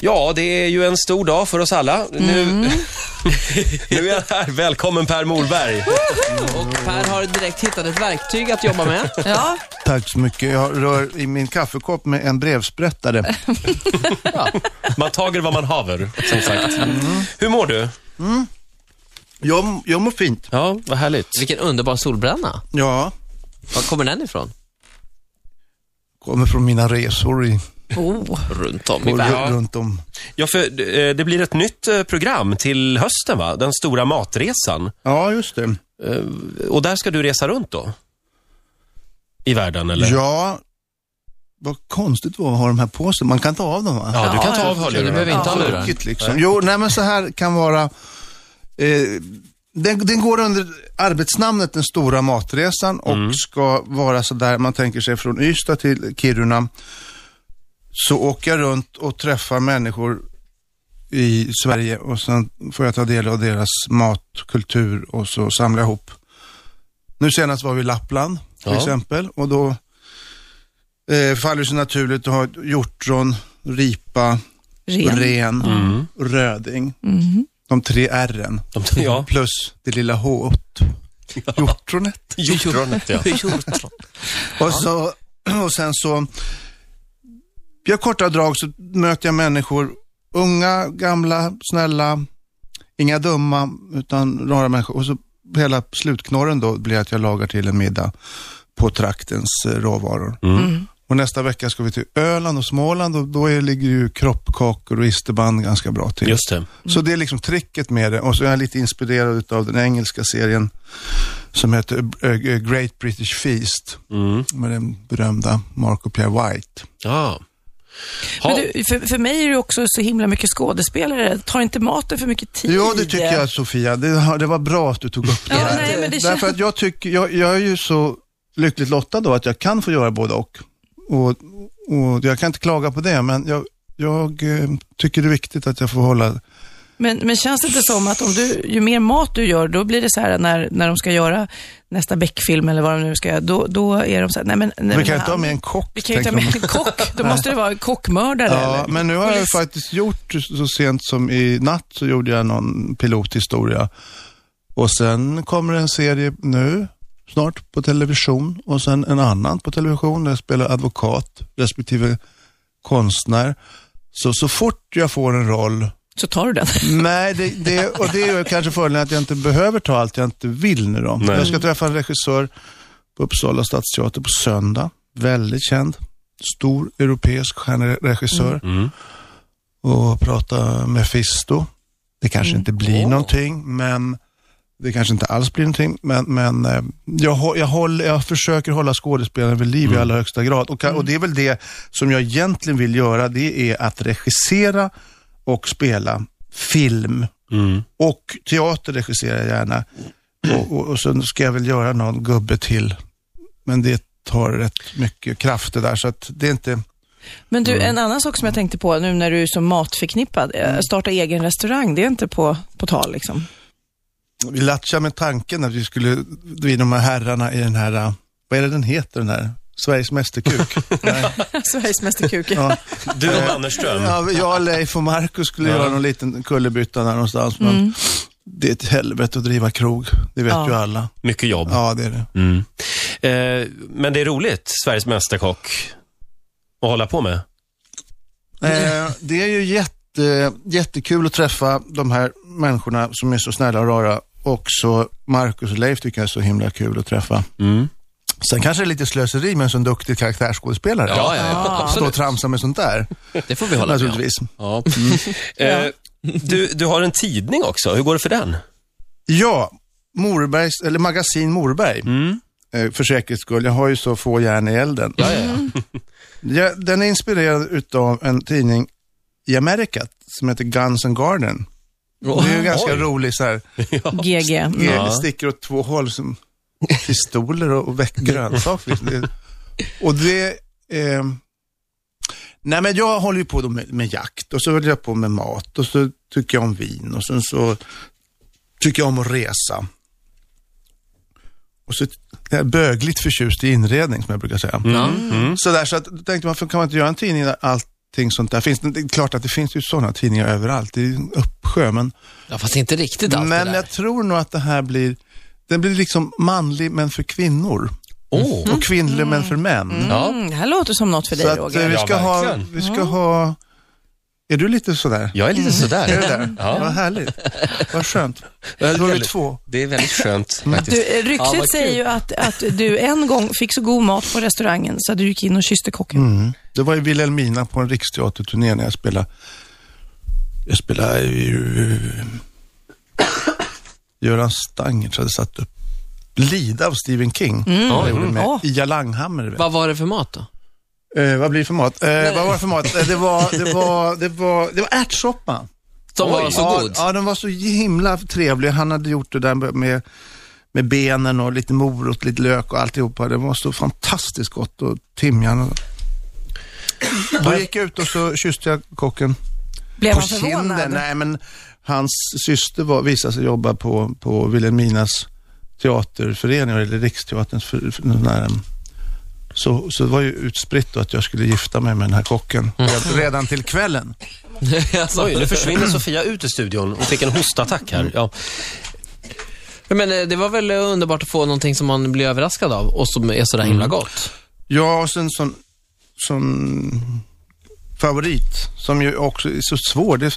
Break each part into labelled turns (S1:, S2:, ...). S1: Ja, det är ju en stor dag för oss alla. Nu, nu är jag här. Välkommen Per Morberg.
S2: Och Per har direkt hittat ett verktyg att jobba med.
S3: Ja,
S4: Tack så mycket. Jag rör i min kaffekopp med en brevsprättare.
S1: Man tager vad man haver, som sagt.
S2: Mm.
S1: Hur mår du?
S4: Jag, jag mår fint.
S1: Ja, vad härligt.
S2: Vilken underbar solbränna.
S4: Ja,
S2: Var kommer den ifrån?
S4: kommer från mina resor i,
S3: oh.
S2: Runt om i
S4: och
S2: världen.
S1: Ja.
S4: runt om.
S1: Ja, för eh, det blir ett nytt eh, program till hösten, va? Den stora matresan.
S4: Ja, just det.
S1: Eh, Och där ska du resa runt då? I världen, eller?
S4: Ja, vad konstigt det var att ha de här på sig. Man kan ta av dem va?
S1: Ja, du kan
S2: Ja,
S1: ta
S2: jag
S1: av
S2: förstår. Du
S1: hörlurarna.
S2: behöver inte ha lurar.
S4: Tråkigt liksom. Jo, nej men så här kan vara. Eh, den, den går under arbetsnamnet Den stora matresan och
S1: Mm.
S4: ska vara så där man tänker sig från Ystad till Kiruna. Så åker jag runt och träffar människor i Sverige och sen får jag ta del av deras mat, kultur och så samla ihop. Nu senast var vi i Lappland till
S1: Ja.
S4: exempel och då eh, faller det sig naturligt att ha hjortron, ripa,
S3: ren.
S4: ren,
S1: Mm.
S4: röding. De tre R'en.
S1: De- ja.
S4: Plus det lilla H. Hjortronet.
S1: Hjortronet, ja.
S4: Och, så, och sen så, i korta drag så möter jag människor, unga, gamla, snälla, inga dumma, utan rara människor. Och så hela slutknorren då blir att jag lagar till en middag på traktens eh, råvaror.
S1: Mm.
S4: Och nästa vecka ska vi till Öland och Småland och då är, ligger ju kroppkakor och isterband ganska bra till.
S1: Just det.
S4: Så det är liksom tricket med det. Och så är jag lite inspirerad av den engelska serien som heter eh, eh, Great British Feast
S1: Mm.
S4: med den berömda Marco Pierre White.
S1: Ja.
S3: Men
S1: Ha,
S3: du, för, för mig är du också så himla mycket skådespelare. Tar inte maten för mycket tid?
S4: Ja, det tycker jag Sofia. Det, har- det var bra att du tog upp det
S3: Ja,
S4: här.
S3: nej, men det
S4: Därför att jag tycker, jag, jag är ju så lyckligt lottad då att jag kan få göra både och. Och, och jag kan inte klaga på det, men jag, jag eh, tycker det är viktigt att jag får hålla
S3: Men, men känns det inte som att om du, ju mer mat du gör, då blir det så här när, när de ska göra nästa Beck-film eller vad de nu ska göra, då, då är de så här, nej men... Nej,
S4: Vi
S3: men
S4: kan ju inte
S3: han-
S4: ha med en kock.
S3: Vi kan ju inte ha
S4: tänker
S3: med en kock. Då måste det vara en kockmördare.
S4: Ja,
S3: eller?
S4: men nu har jag ju
S3: Polis.
S4: faktiskt gjort, så sent som i natt så gjorde jag någon pilothistoria. Och sen kommer en serie nu, snart, på television. Och sen en annan på television där jag spelar advokat respektive konstnär. Så, så fort jag får en roll,
S3: Så tar du den.
S4: nej, det, det, och det är ju kanske fördelen att jag inte behöver ta allt jag inte vill nu då.
S1: Nej.
S4: Jag ska träffa en regissör på Uppsala stadsteater på söndag. Väldigt känd, stor europeisk stjärnregissör
S1: mm.
S4: och prata med Fisto. Det kanske inte blir
S2: Åh.
S4: någonting, men det kanske inte alls blir någonting. Men, men eh, jag, hå- jag, håller, jag försöker hålla skådespelaren vid liv i allra högsta grad. Och, ka- och det är väl det som jag egentligen vill göra, det är att regissera och spela film.
S1: Mm.
S4: Och teater regisserar jag gärna. Och, och, och sen ska jag väl göra någon gubbe till. Men det tar rätt mycket kraft det där, så att det är inte...
S3: Men
S4: Mm.
S3: du, en annan sak som jag tänkte på nu när du är så matförknippad, eh, starta egen restaurang, det är inte på, på tal liksom.
S4: vi latchade med tanken att vi skulle, vi de här herrarna i den här, äh, vad är det den heter den här? Sveriges Mästerkuk. Nej,
S3: Sveriges Mästerkuk.
S4: ja.
S1: Du och Mannerström.
S4: Ja, jag, Leif och Markus skulle
S1: Ja.
S4: göra någon liten kullerbytta där någonstans, men det är ett helvete att driva krog. Det vet
S3: Mm. Ja.
S4: ju alla.
S1: Mycket jobb.
S4: Ja, det är det.
S1: Mm. Eh, men det är roligt, Sveriges Mästerkock, att hålla på med.
S4: Eh, det är ju jätte, jättekul att träffa de här människorna som är så snälla och rara. Också Marcus och Leif tycker jag är så himla kul att träffa.
S1: Mm.
S4: Sen kanske det är lite slöseri med en sån duktig karaktärsskådespelare.
S2: Ja, ja,
S3: Ja.
S2: ja.
S4: Stå och
S2: absolut.
S4: tramsa med sånt där.
S2: Det får vi hålla med om.
S4: Naturligtvis.
S2: Ja.
S1: Eh, du, du har en tidning också. Hur går det för den?
S4: Ja, Morbergs, eller magasin Morberg. Eh, För säkerhets skull, jag har ju så få järn i elden.
S2: Ja, ja, ja.
S4: Ja, den är inspirerad utav en tidning i Amerika som heter Guns and Garden. det är ju ganska
S1: Oj.
S4: rolig så här,
S3: GG. Mm.
S4: det
S1: Ja.
S4: Eh, sticker åt två håll som pistoler och, och väck grönsaker. Det- och det, eh, nej men jag håller ju på då med, med jakt och så håller jag på med mat och så tycker jag om vin och sen så tycker jag om att resa. Och så jag är bögligt förtjust i inredning som jag brukar säga.
S1: Mm. Mm.
S4: Så där, så att, då tänkte man, för kan man inte göra en tidning där allt allting sånt där. Finns, det det är klart att det finns ju sådana tidningar överallt. Det är ju en uppsjö, men,
S2: Ja, fast inte riktigt allt det
S4: men
S2: där.
S4: jag tror nog att det här blir, den blir liksom manlig men för kvinnor.
S1: Åh,
S4: Och kvinnlig men för män.
S1: ja.
S3: Mm, det här låter som något för dig,
S4: Så att eh,
S3: Roger.
S4: vi
S1: Ja,
S4: ska, ha,
S1: verkligen.
S4: vi ska ha, är du lite sådär?
S1: Jag är lite sådär.
S4: Mm. Är du där?
S1: Ja.
S4: Vad härligt. Vad skönt. Då
S1: Väldigt-
S4: är vi två. Mm.
S1: Det är väldigt skönt faktiskt.
S3: Du, eh, ryktet
S2: Ja, vad kul.
S3: säger ju att, att du en gång fick så god mat på restaurangen så att du gick in och kysste kocken.
S4: Mm. Det var i Vilhelmina på en riksteaterturné när jag spelade. Jag spelade eh, Göran Stanger hade satt upp Lida av Stephen King.
S1: Ja,
S4: Jag gjorde
S1: mm.
S4: med
S3: Åh.
S4: Ia Langhammer. du vet.
S2: Vad var det för mat då?
S4: Eh, vad blir det för mat? Eh, vad var det för mat? Eh, det, var, det, var, det, var, det var ärtsoppa.
S2: Som var så
S4: ja,
S2: god?
S4: Ja, den var så himla trevlig. Han hade gjort det där med, med benen och lite morot, lite lök och alltihopa. Det var så fantastiskt gott och timjan. Och... Då gick jag ut och så kysste jag kocken
S3: Blev
S4: på
S3: han förvånad?
S4: kinden. Nej, men hans syster var, visade sig jobba på, på Vilhelminas teaterförening, eller Riksteaterns för, för, den här, um, så, så det var ju utspritt då att jag skulle gifta mig med den här kocken. Mm. Redan till kvällen.
S2: alltså,
S1: Oj, nu försvinner Sofia ut ur studion. Hon fick en hostattack
S4: Mm.
S1: här. Ja.
S2: men eh, det var väl eh, underbart att få någonting som man blir överraskad av och som är sådär himla gott.
S4: Ja, och sen som, som favorit, som ju också är så svår. Det,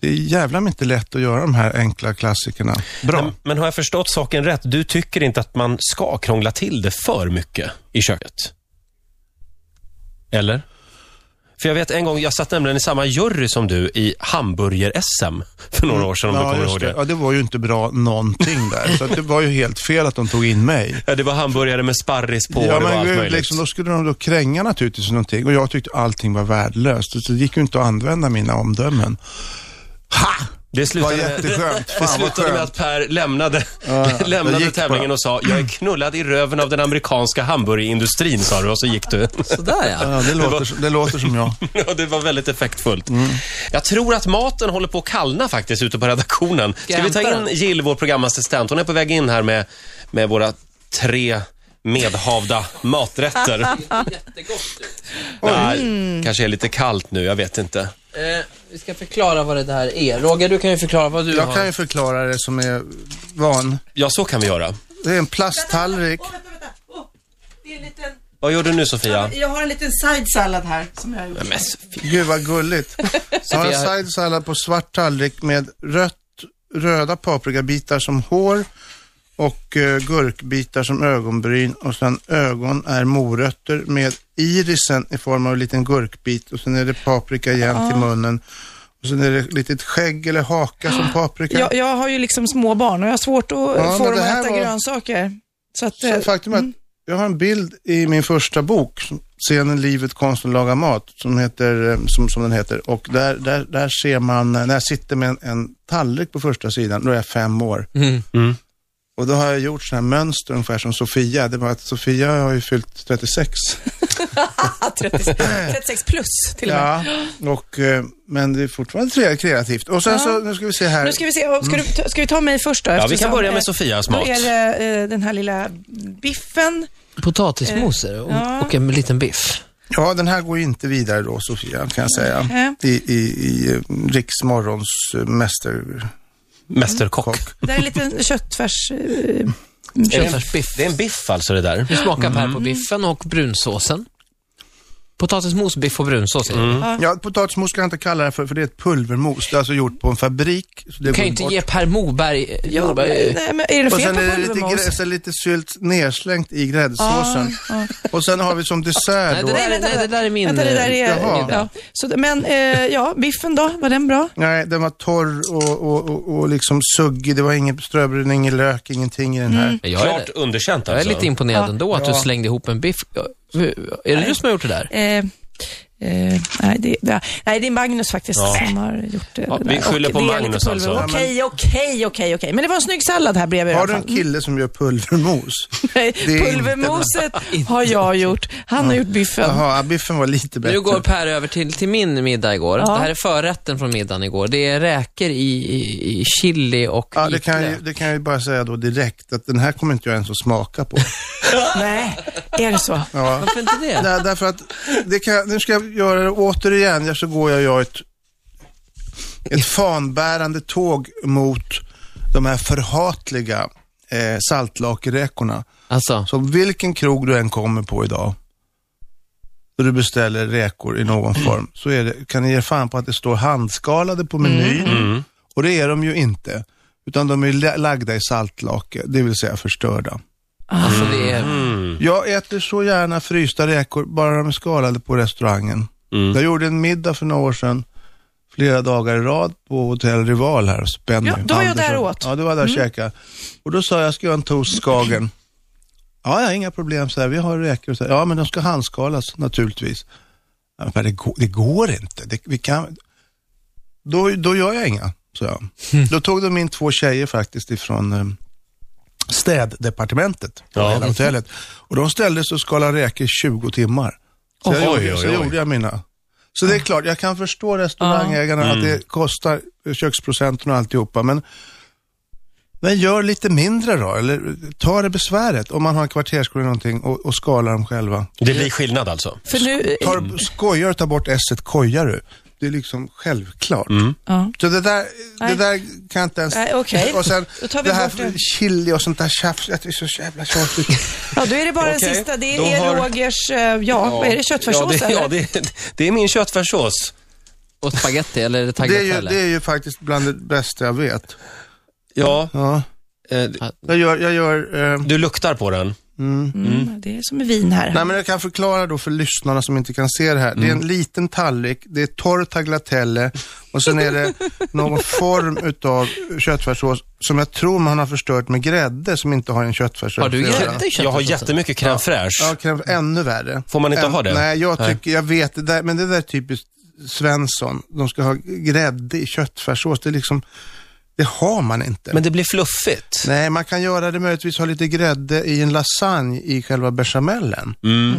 S4: det är jävla inte lätt att göra de här enkla klassikerna bra.
S1: Men, men har jag förstått saken rätt? Du tycker inte att man ska krångla till det för mycket i köket? Eller? För jag vet en gång, jag satt nämligen i samma jury som du i hamburger-SM för några år sedan om du
S4: Mm. ja,
S1: kommer
S4: just
S1: ihåg
S4: det.
S1: det.
S4: ja, det var ju inte bra någonting där. så att det var ju helt fel att de tog in mig.
S1: Ja, det var hamburgare med sparris på
S4: ja,
S1: och det var allt
S4: men
S1: möjligt.
S4: liksom, då skulle de då kränga naturligtvis någonting och jag tyckte allting var värdelöst. Så det gick ju inte att använda mina omdömen. Ha!
S1: det
S4: Det var
S1: slutade, med,
S4: jätteskönt.
S1: det
S4: Fan vad
S1: slutade med
S4: skönt.
S1: att Per lämnade,
S4: Ja, ja. Jag
S1: lämnade
S4: gick Mm.
S1: tävlingen
S4: bara.
S1: och sa, jag är knullad i röven av den amerikanska hamburgerindustrin, sa du och så gick du.
S2: Sådär ja.
S4: Ja, det, låter, som- det låter som jag.
S1: Ja, det var väldigt effektfullt.
S4: Mm.
S1: Jag tror att maten håller på att kallna faktiskt ute på redaktionen. Ska vi ta
S2: hämta
S1: in
S2: den?
S1: Jill, vår programassistent? Hon är på väg in här med, med våra tre medhavda maträtter.
S2: Jättegott
S1: Nej, kanske är lite kallt nu, jag vet inte.
S2: eh, Vi ska förklara vad det där är. Roger, du kan ju förklara vad du
S4: Jag
S2: har.
S4: kan ju förklara det som är van.
S1: Ja, så kan vi göra.
S4: Det är en plasttallrik.
S3: Åh, vänta, vänta. Åh, det är en liten...
S1: Vad gör du nu, Sofia?
S3: Jag har en liten side sallad här som jag har gjort.
S1: Men Sofia-
S4: Gud vad gulligt. Jag har en side salad på svart tallrik med rött, röda paprikabitar som hår och eh, gurkbitar som ögonbryn och sen ögon är morötter med irisen i form av en liten gurkbit och sen är det paprika igen till munnen. Och sen är det litet skägg eller haka som paprika.
S3: Jag, jag har ju liksom små barn och jag har svårt att
S4: men
S3: få dem
S4: det
S3: att
S4: här
S3: äta
S4: var-
S3: grönsaker. Så att, eh,
S4: Så faktum är att jag har en bild i min första bok, som- scenen Livet, konsten, laga mat, som, heter, eh, som, som den heter. Och där, där, där ser man, eh, när jag sitter med en, en tallrik på första sidan, då är jag fem år.
S2: Mm.
S4: Och då har jag gjort sådana här mönster ungefär som Sofia. Det var att Sofia har ju fyllt 36.
S3: 36, 36 ah, plus till och med.
S4: Ja, och, eh, men det är fortfarande tre- kreativt. Och sen så, nu ska vi se här.
S3: Nu ska vi se, och ska, du, ta- ska vi ta mig först då?
S1: Ja, vi
S3: eftersom,
S1: kan börja
S3: eh,
S1: med Sofias
S3: Då
S1: mat.
S3: är det eh, den här lilla biffen.
S2: Potatismos är det och,
S3: ja.
S2: och en liten biff.
S4: Ja, den här går ju inte vidare då, Sofia, kan jag säga.
S3: Mm.
S4: I, i, i eh, Riksmorgons eh, mäster...
S1: Mästerkock.
S3: Det är en liten köttfärs... eh,
S4: Mm.
S1: Är det, en,
S2: Köttfärsbiff.
S1: det är en biff alltså det där.
S2: Nu smakar Per på biffen och brunsåsen. Potatismos, biff och brunsås. Mm.
S4: Ja, potatismos ska jag inte kalla det för, för det är ett pulvermos. Det är alltså gjort på en fabrik. Så det
S2: Du kan ju
S4: går
S2: inte
S4: bort.
S2: ge Per Moberg... Ja, Moberg.
S3: Nej, men är det
S4: Och
S3: fel
S4: sen
S3: på
S4: är det lite,
S3: pulvermos?
S4: grä- sen lite sylt nerslängt i gräddsåsen. Och sen har vi som dessert
S2: Ah. Nej,
S4: då.
S2: det där, nej, det där är min... eh,
S3: Vänta, det där är...
S4: Jaha.
S3: Ja. Så, men eh, ja, biffen då? Var den bra?
S4: Nej, den var torr och, och, och, och liksom suggig. Det var ingen ströbröd, ingen lök, ingenting i den här.
S2: eh, Jag är,
S1: Klart underkänt
S2: jag är
S1: alltså.
S2: lite imponerad
S3: Ja.
S2: ändå att du slängde ihop en biff. Ja, hur- Är det du som har gjort det där?
S3: Eh, eh, nej, det, det, nej, det är Magnus faktiskt
S1: Ja.
S3: som har gjort det.
S1: Ja,
S3: det
S1: vi
S3: där.
S1: skyller
S3: Och
S1: på
S3: det är
S1: Magnus
S3: lite pulver.
S1: alltså.
S3: Okej, okej, okej, okej. Men det var en snygg sallad här bredvid
S4: Har
S3: i
S4: du
S3: alla
S4: en
S3: fall.
S4: kille som gör pulvermos?
S3: Nej,
S4: Det är
S3: pulvermoset har jag gjort. Han har gjort biffen.
S4: Jaha, biffen var lite bättre.
S2: Nu går Per över till, till min middag igår.
S3: Ja.
S2: Det här är förrätten från middagen igår. Det är räkor i, i, i chili och
S4: Ja,
S2: i
S4: det kan, jag, ju-
S2: klö.
S4: det kan jag ju bara säga då direkt att den här kommer inte jag ens att smaka på.
S3: Nej, är det så?
S4: Ja.
S2: Varför inte det?
S4: Nej, därför att, det kan, jag- nu ska jag jag göra det återigen, ja, så går jag, jag ett, ett fanbärande tåg mot de här förhatliga eh, saltlakräkorna.
S2: Alltså,
S4: Så vilken krog du än kommer på idag, och du beställer räkor i någon form, så är det, kan ni ge fan på att det står handskalade på menyn. Och det är de ju inte. Utan de är la- lagda i saltlake, det vill säga förstörda.
S2: alltså det är...
S4: Jag äter så gärna frysta räkor, bara de är skalade på restaurangen. Jag gjorde en middag för några år sedan, flera dagar i rad på Hotell Rival här, Spenny.
S3: Ja, då var jag där
S4: Andersson.
S3: åt. Mm.
S4: Ja, du var där och käkade. Och då sa jag, ska jag göra en toast Skagen? Ja, ja, inga problem, så här. vi har räkor. Så här. Ja, men de ska handskalas naturligtvis. Ja, men det, går, det går inte. Det, vi kan... då, då gör jag inga, så jag.
S1: Hmm.
S4: Då tog de in två tjejer faktiskt ifrån eh, städdepartementet på
S1: Ja.
S4: hela hotellet. Och de ställdes och skalade räkor i 20 timmar. Så, jag
S1: Oj,
S4: gjorde,
S1: oj,
S4: så
S1: oj.
S4: gjorde jag mina. Så det är klart, jag kan förstå restaurangägarna att
S1: Mm.
S4: det kostar köksprocenten och alltihopa, men men gör lite mindre då, eller ta det besväret om man har en kvartersskola eller någonting och, och skalar dem själva.
S1: Det blir skillnad alltså.
S3: För nu,
S4: Tar,
S2: Mm.
S4: skojar du, ta bort s kojar du. Det är liksom självklart.
S2: Mm.
S3: ja.
S4: Så det där, det
S3: Nej.
S4: där kan jag inte ens...
S3: Nej, okej.
S4: Och sen
S3: Då tar vi
S4: det här
S3: bort det.
S4: chili och sånt där tjafs, jag tycker det är så jävla tjatigt.
S3: ja, då är det bara
S1: Okej,
S3: den sista. Det
S1: då
S3: är
S1: har-
S3: Rogers, eh, ja, vad är det, köttfärssås
S1: ja, det,
S3: eller?
S1: ja, det, det är min köttfärssås.
S2: Och spaghetti eller är det
S4: det, är ju,
S2: tagliatelle?
S4: det är ju faktiskt bland det bästa jag vet.
S1: Ja,
S4: Ja.
S1: eh,
S4: Jag gör, jag gör eh,
S1: du luktar på den.
S3: Mm, det är som med vin här.
S4: Nej, men jag kan förklara då för lyssnarna som inte kan se det här.
S2: Mm.
S4: Det är en liten tallrik, det är torr tagliatelle och sen är det någon form utav köttfärssås som jag tror man har förstört med grädde som inte har en köttfärssås.
S2: Har du
S4: att göra.
S2: grädde i
S1: Jag har
S2: köttfärssåsen?
S1: jättemycket crème
S4: Ja,
S1: fraîche.
S4: kräm, ännu värre.
S1: Får man inte
S4: Än-
S1: ha det?
S4: Nej, jag
S1: Nej.
S4: tycker, jag vet, det där, men det där är typiskt Svensson. De ska ha grädde i köttfärssås. Det är liksom, det har man inte.
S1: Men det blir fluffigt.
S4: Nej, man kan göra det möjligtvis ha lite grädde i en lasagne i själva bechamelen.
S1: Mm.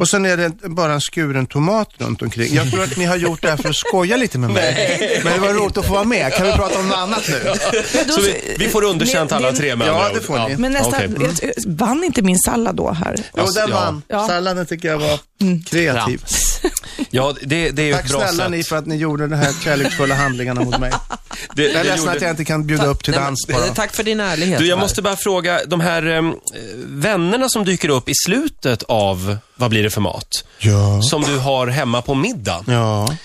S4: Och sen är det bara en skuren tomat runt omkring. Jag tror att ni har gjort det här för att skoja lite med mig. Men det var roligt att få vara med. Kan vi prata om något annat nu?
S3: Men då-
S1: Så vi, vi får underkänt
S3: Ni-
S1: alla
S3: ni-
S1: tre med
S4: Ja,
S1: andra ord.
S4: det får ni.
S3: Men nästan,
S1: Okej.
S3: jag t- vann inte min sallad då här?
S4: Jo,
S1: Alltså,
S4: den
S1: ja.
S4: vann.
S3: Ja.
S4: Salladen tycker jag var kreativ.
S1: Ja, det, det är ju ett
S4: Tack
S1: bra
S4: snälla
S1: sätt.
S4: ni för att ni gjorde de här kärleksfulla handlingarna mot mig.
S1: Det,
S4: Jag är
S1: det
S4: ledsen
S1: gjorde-
S4: att jag inte kan bjuda upp till
S2: Nej, men-
S4: dans bara.
S2: eh, Tack för din ärlighet.
S1: Du, jag
S2: Per.
S1: måste bara fråga, de här eh, vännerna som dyker upp i slutet av Vad blir det för mat?
S4: Ja.
S1: Som du har hemma på middag.
S4: Ja.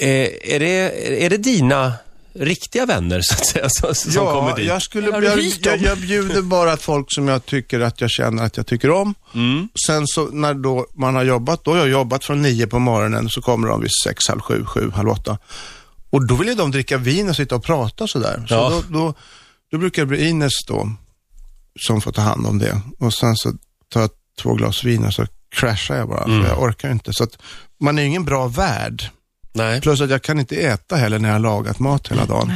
S1: Eh, är, det, är det dina riktiga vänner, så att säga, som, som kommer dit?
S4: jag, skulle,
S3: Eller har
S4: jag,
S3: du
S4: jag,
S3: hyrt
S4: jag,
S3: dem?
S4: bjuder bara folk som jag tycker att jag känner att jag tycker om.
S1: Mm.
S4: Sen så när då man har jobbat, då har jag jobbat från nio på morgonen, så kommer de vid sex, halv sju, sju, halv åtta. Och då vill ju de dricka vin och sitta och prata sådär. Så
S1: Ja.
S4: då, då, då brukar det bli Ines då, som får ta hand om det. Och sen så tar jag två glas vin och så crashar jag bara,
S1: Mm.
S4: för jag orkar ju inte. Så att man är ju ingen bra värd.
S1: Nej.
S4: Plus att jag kan inte äta heller när jag har lagat mat hela dagen.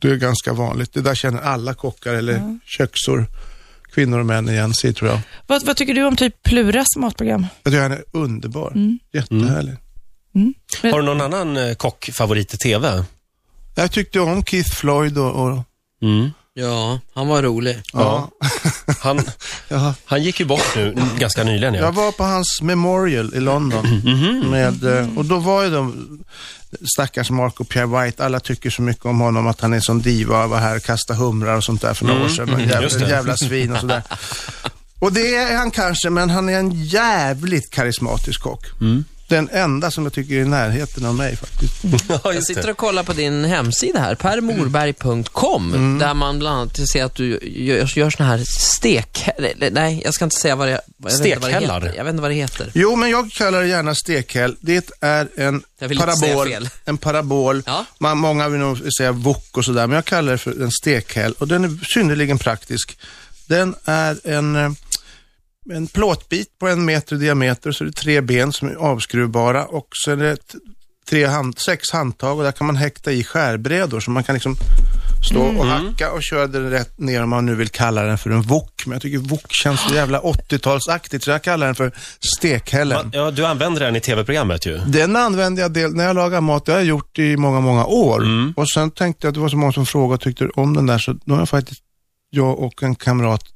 S4: Det är ganska vanligt. Det där känner alla kockar eller köksor, kvinnor och män igen sig tror jag.
S3: Vad, vad tycker du om typ Pluras matprogram?
S4: Jag tycker han är underbar. Jättehärlig.
S1: Har du någon annan eh, kockfavorit i TV?
S4: Jag tyckte om Keith Floyd och... och
S1: Mm.
S2: Ja, han var rolig.
S4: ja.
S1: Han,
S4: Ja.
S1: han gick ju bort nu n- ganska nyligen.
S4: Jag
S1: Ja.
S4: var på hans memorial i London.
S1: Mm-hmm.
S4: Med, eh, och då var ju de, stackars Mark och Pierre White, alla tycker så mycket om honom att han är som diva, var här, kasta humrar och sånt där för några år sedan. Och
S1: Mm. just
S4: Jävla,
S1: det.
S4: jävla svin och sådär. Och det är han kanske, men han är en jävligt karismatisk kock.
S1: Mm.
S4: Den enda som jag tycker är i närheten av mig faktiskt.
S1: Ja,
S2: Jag
S1: just
S2: sitter
S1: det.
S2: och kollar på din hemsida här,
S1: Mm.
S2: permorberg.com, där man bland annat ser att du gör, gör såna här stek... eller, Nej, jag ska inte säga vad det, jag vet inte vad det
S1: Stekhällar.
S2: heter. Jag vet inte vad det heter.
S4: Jo, men jag kallar det gärna stekhäll. Det är en
S2: Jag vill inte säga
S4: parabol.
S2: fel.
S4: En parabol.
S2: Ja.
S4: Man, många vill nog säga wok och sådär, men jag kallar det för en stekhäll. Och den är synnerligen praktisk. Den är en, eh, en plåtbit på en meter i diameter, så det är tre ben som är avskruvbara och så är det t- tre hand, sex handtag och där kan man häkta i skärbrädor så man kan liksom stå
S2: Mm.
S4: och hacka och köra den rätt ner om man nu vill kalla den för en wok. Men jag tycker wok känns så jävla 80-talsaktigt så jag kallar den för stekhällen.
S1: Ja, du använder den i TV-programmet ju.
S4: Den använder jag del, när jag lagar mat, det har jag gjort i många, många år.
S2: Mm.
S4: Och sen tänkte jag att det var så många som frågade och tyckte om den där, så då har jag faktiskt, jag och en kamrat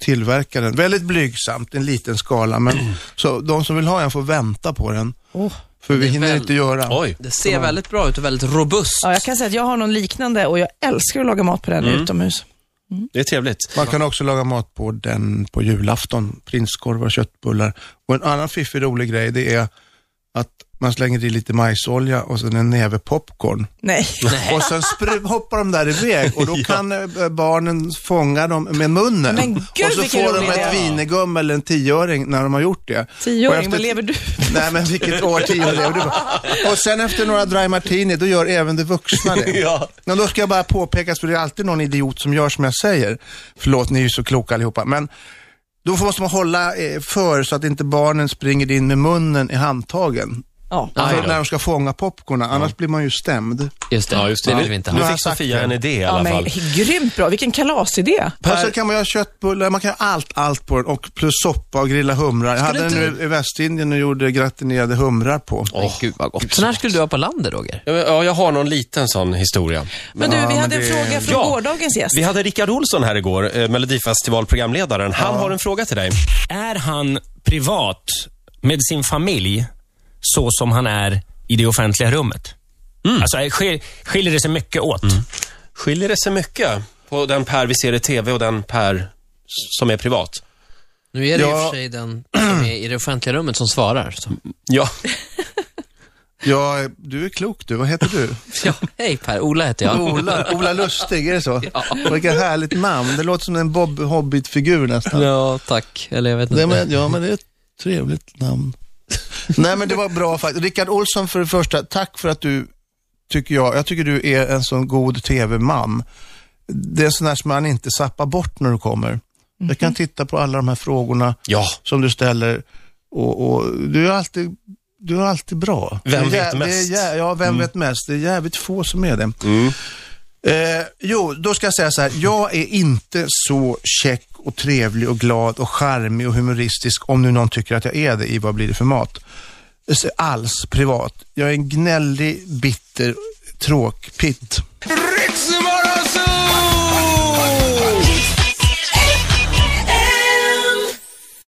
S4: tillverkar den. Väldigt blygsamt, en liten skala, men så de som vill ha en får vänta på den.
S3: Oh.
S4: För vi
S2: Det är
S4: hinner
S2: väl-
S4: inte göra.
S1: Oj.
S2: Det ser väldigt bra ut och väldigt robust.
S3: Ja, jag kan säga att jag har någon liknande och jag älskar att laga mat på den utomhus.
S1: Det är trevligt.
S4: Man kan också laga mat på den på julafton. Prinskorvar och köttbullar. Och en annan fiffig rolig grej det är att man slänger i lite majsolja och sen en näve popcorn.
S3: Nej.
S4: Och sen spr- hoppar de där iväg och då kan eh, barnen fånga dem med munnen.
S3: Men gud,
S4: och så
S3: vilken
S4: får de
S3: rolig
S4: ett
S3: idé.
S4: vinegum eller en tioöring när de har gjort det. Och
S3: Tioåring,
S4: efter-
S3: vad lever du?
S4: Nej men vilket årtionde lever du på? Och sen efter några dry martini, då gör även de vuxna det.
S1: Ja.
S4: Men då ska jag bara påpeka, för det är alltid någon idiot som gör som jag säger. Förlåt, ni är ju så kloka allihopa. Men då måste man hålla eh, för så att inte barnen springer in med munnen i handtagen.
S3: Ja.
S2: Aj
S4: Alltså
S2: då.
S4: när de ska fånga popcorn, annars blir man ju stämd.
S2: Just det,
S1: Ja, just det.
S2: vill vi inte
S1: Nu
S4: Ja.
S2: ha.
S4: har
S1: fick
S4: jag sagt
S1: Sofia
S4: det.
S1: en idé i
S3: Ja,
S1: alla
S3: men
S1: fall.
S3: grymt bra, vilken kalasidé.
S4: Och så kan man göra köttbullar, man kan göra allt, allt på den. Och plus soppa och grilla humrar. Jag hade
S3: Skulle
S4: den
S3: inte
S4: nu i Västindien och gjorde gratinerade humrar på.
S2: Men gud vad gott. Sån här skulle du ha på landet, Roger.
S1: Ja, men- Ja, jag har någon liten sån historia.
S3: Men du, vi hade en
S4: det-
S3: fråga från
S1: Ja.
S3: gårdagens gäst.
S1: Vi hade Rickard Olsson här igår, eh, Melodifestivalprogramledaren. Han har en fråga till dig.
S5: Är han privat med sin familj så som han är i det offentliga rummet? Alltså, skil- skiljer det sig mycket åt?
S1: Skiljer det sig mycket på den Per vi ser i TV och den Per s- som är privat?
S2: Nu är det ju i och
S4: Ja.
S2: för sig den som är i det offentliga rummet som svarar. Så.
S1: Ja,
S4: Ja, du är klok du. Vad heter du?
S2: Ja, hej Per, Ola heter jag.
S4: Ola, Ola Lustig, är det så? Vilket härligt namn. Det låter som en Bob Hobbit-figur nästan.
S2: Ja, tack. Eller jag vet inte.
S4: Nej, men, ja, men det är ett trevligt namn. Nej, men det var bra faktiskt. Rickard Olsson, för det första, tack för att du, tycker jag, jag tycker du är en sån god tv-man. Det är sån där som man inte zappar bort när du kommer. Jag kan titta på alla de här frågorna
S1: ja.
S4: som du ställer och, och du är alltid du är alltid bra.
S1: Vem
S4: Det är
S1: vet
S4: jä- det är
S1: mest? Mm.
S4: jä- ja, vem vet mest? Det är jävligt få som är det. Eh, jo, då ska jag säga så här. Jag är inte så check och trevlig och glad och charmig och humoristisk, om nu någon tycker att jag är det i Vad blir det för mat? Alls privat. Jag är en gnällig, bitter tråkpitt.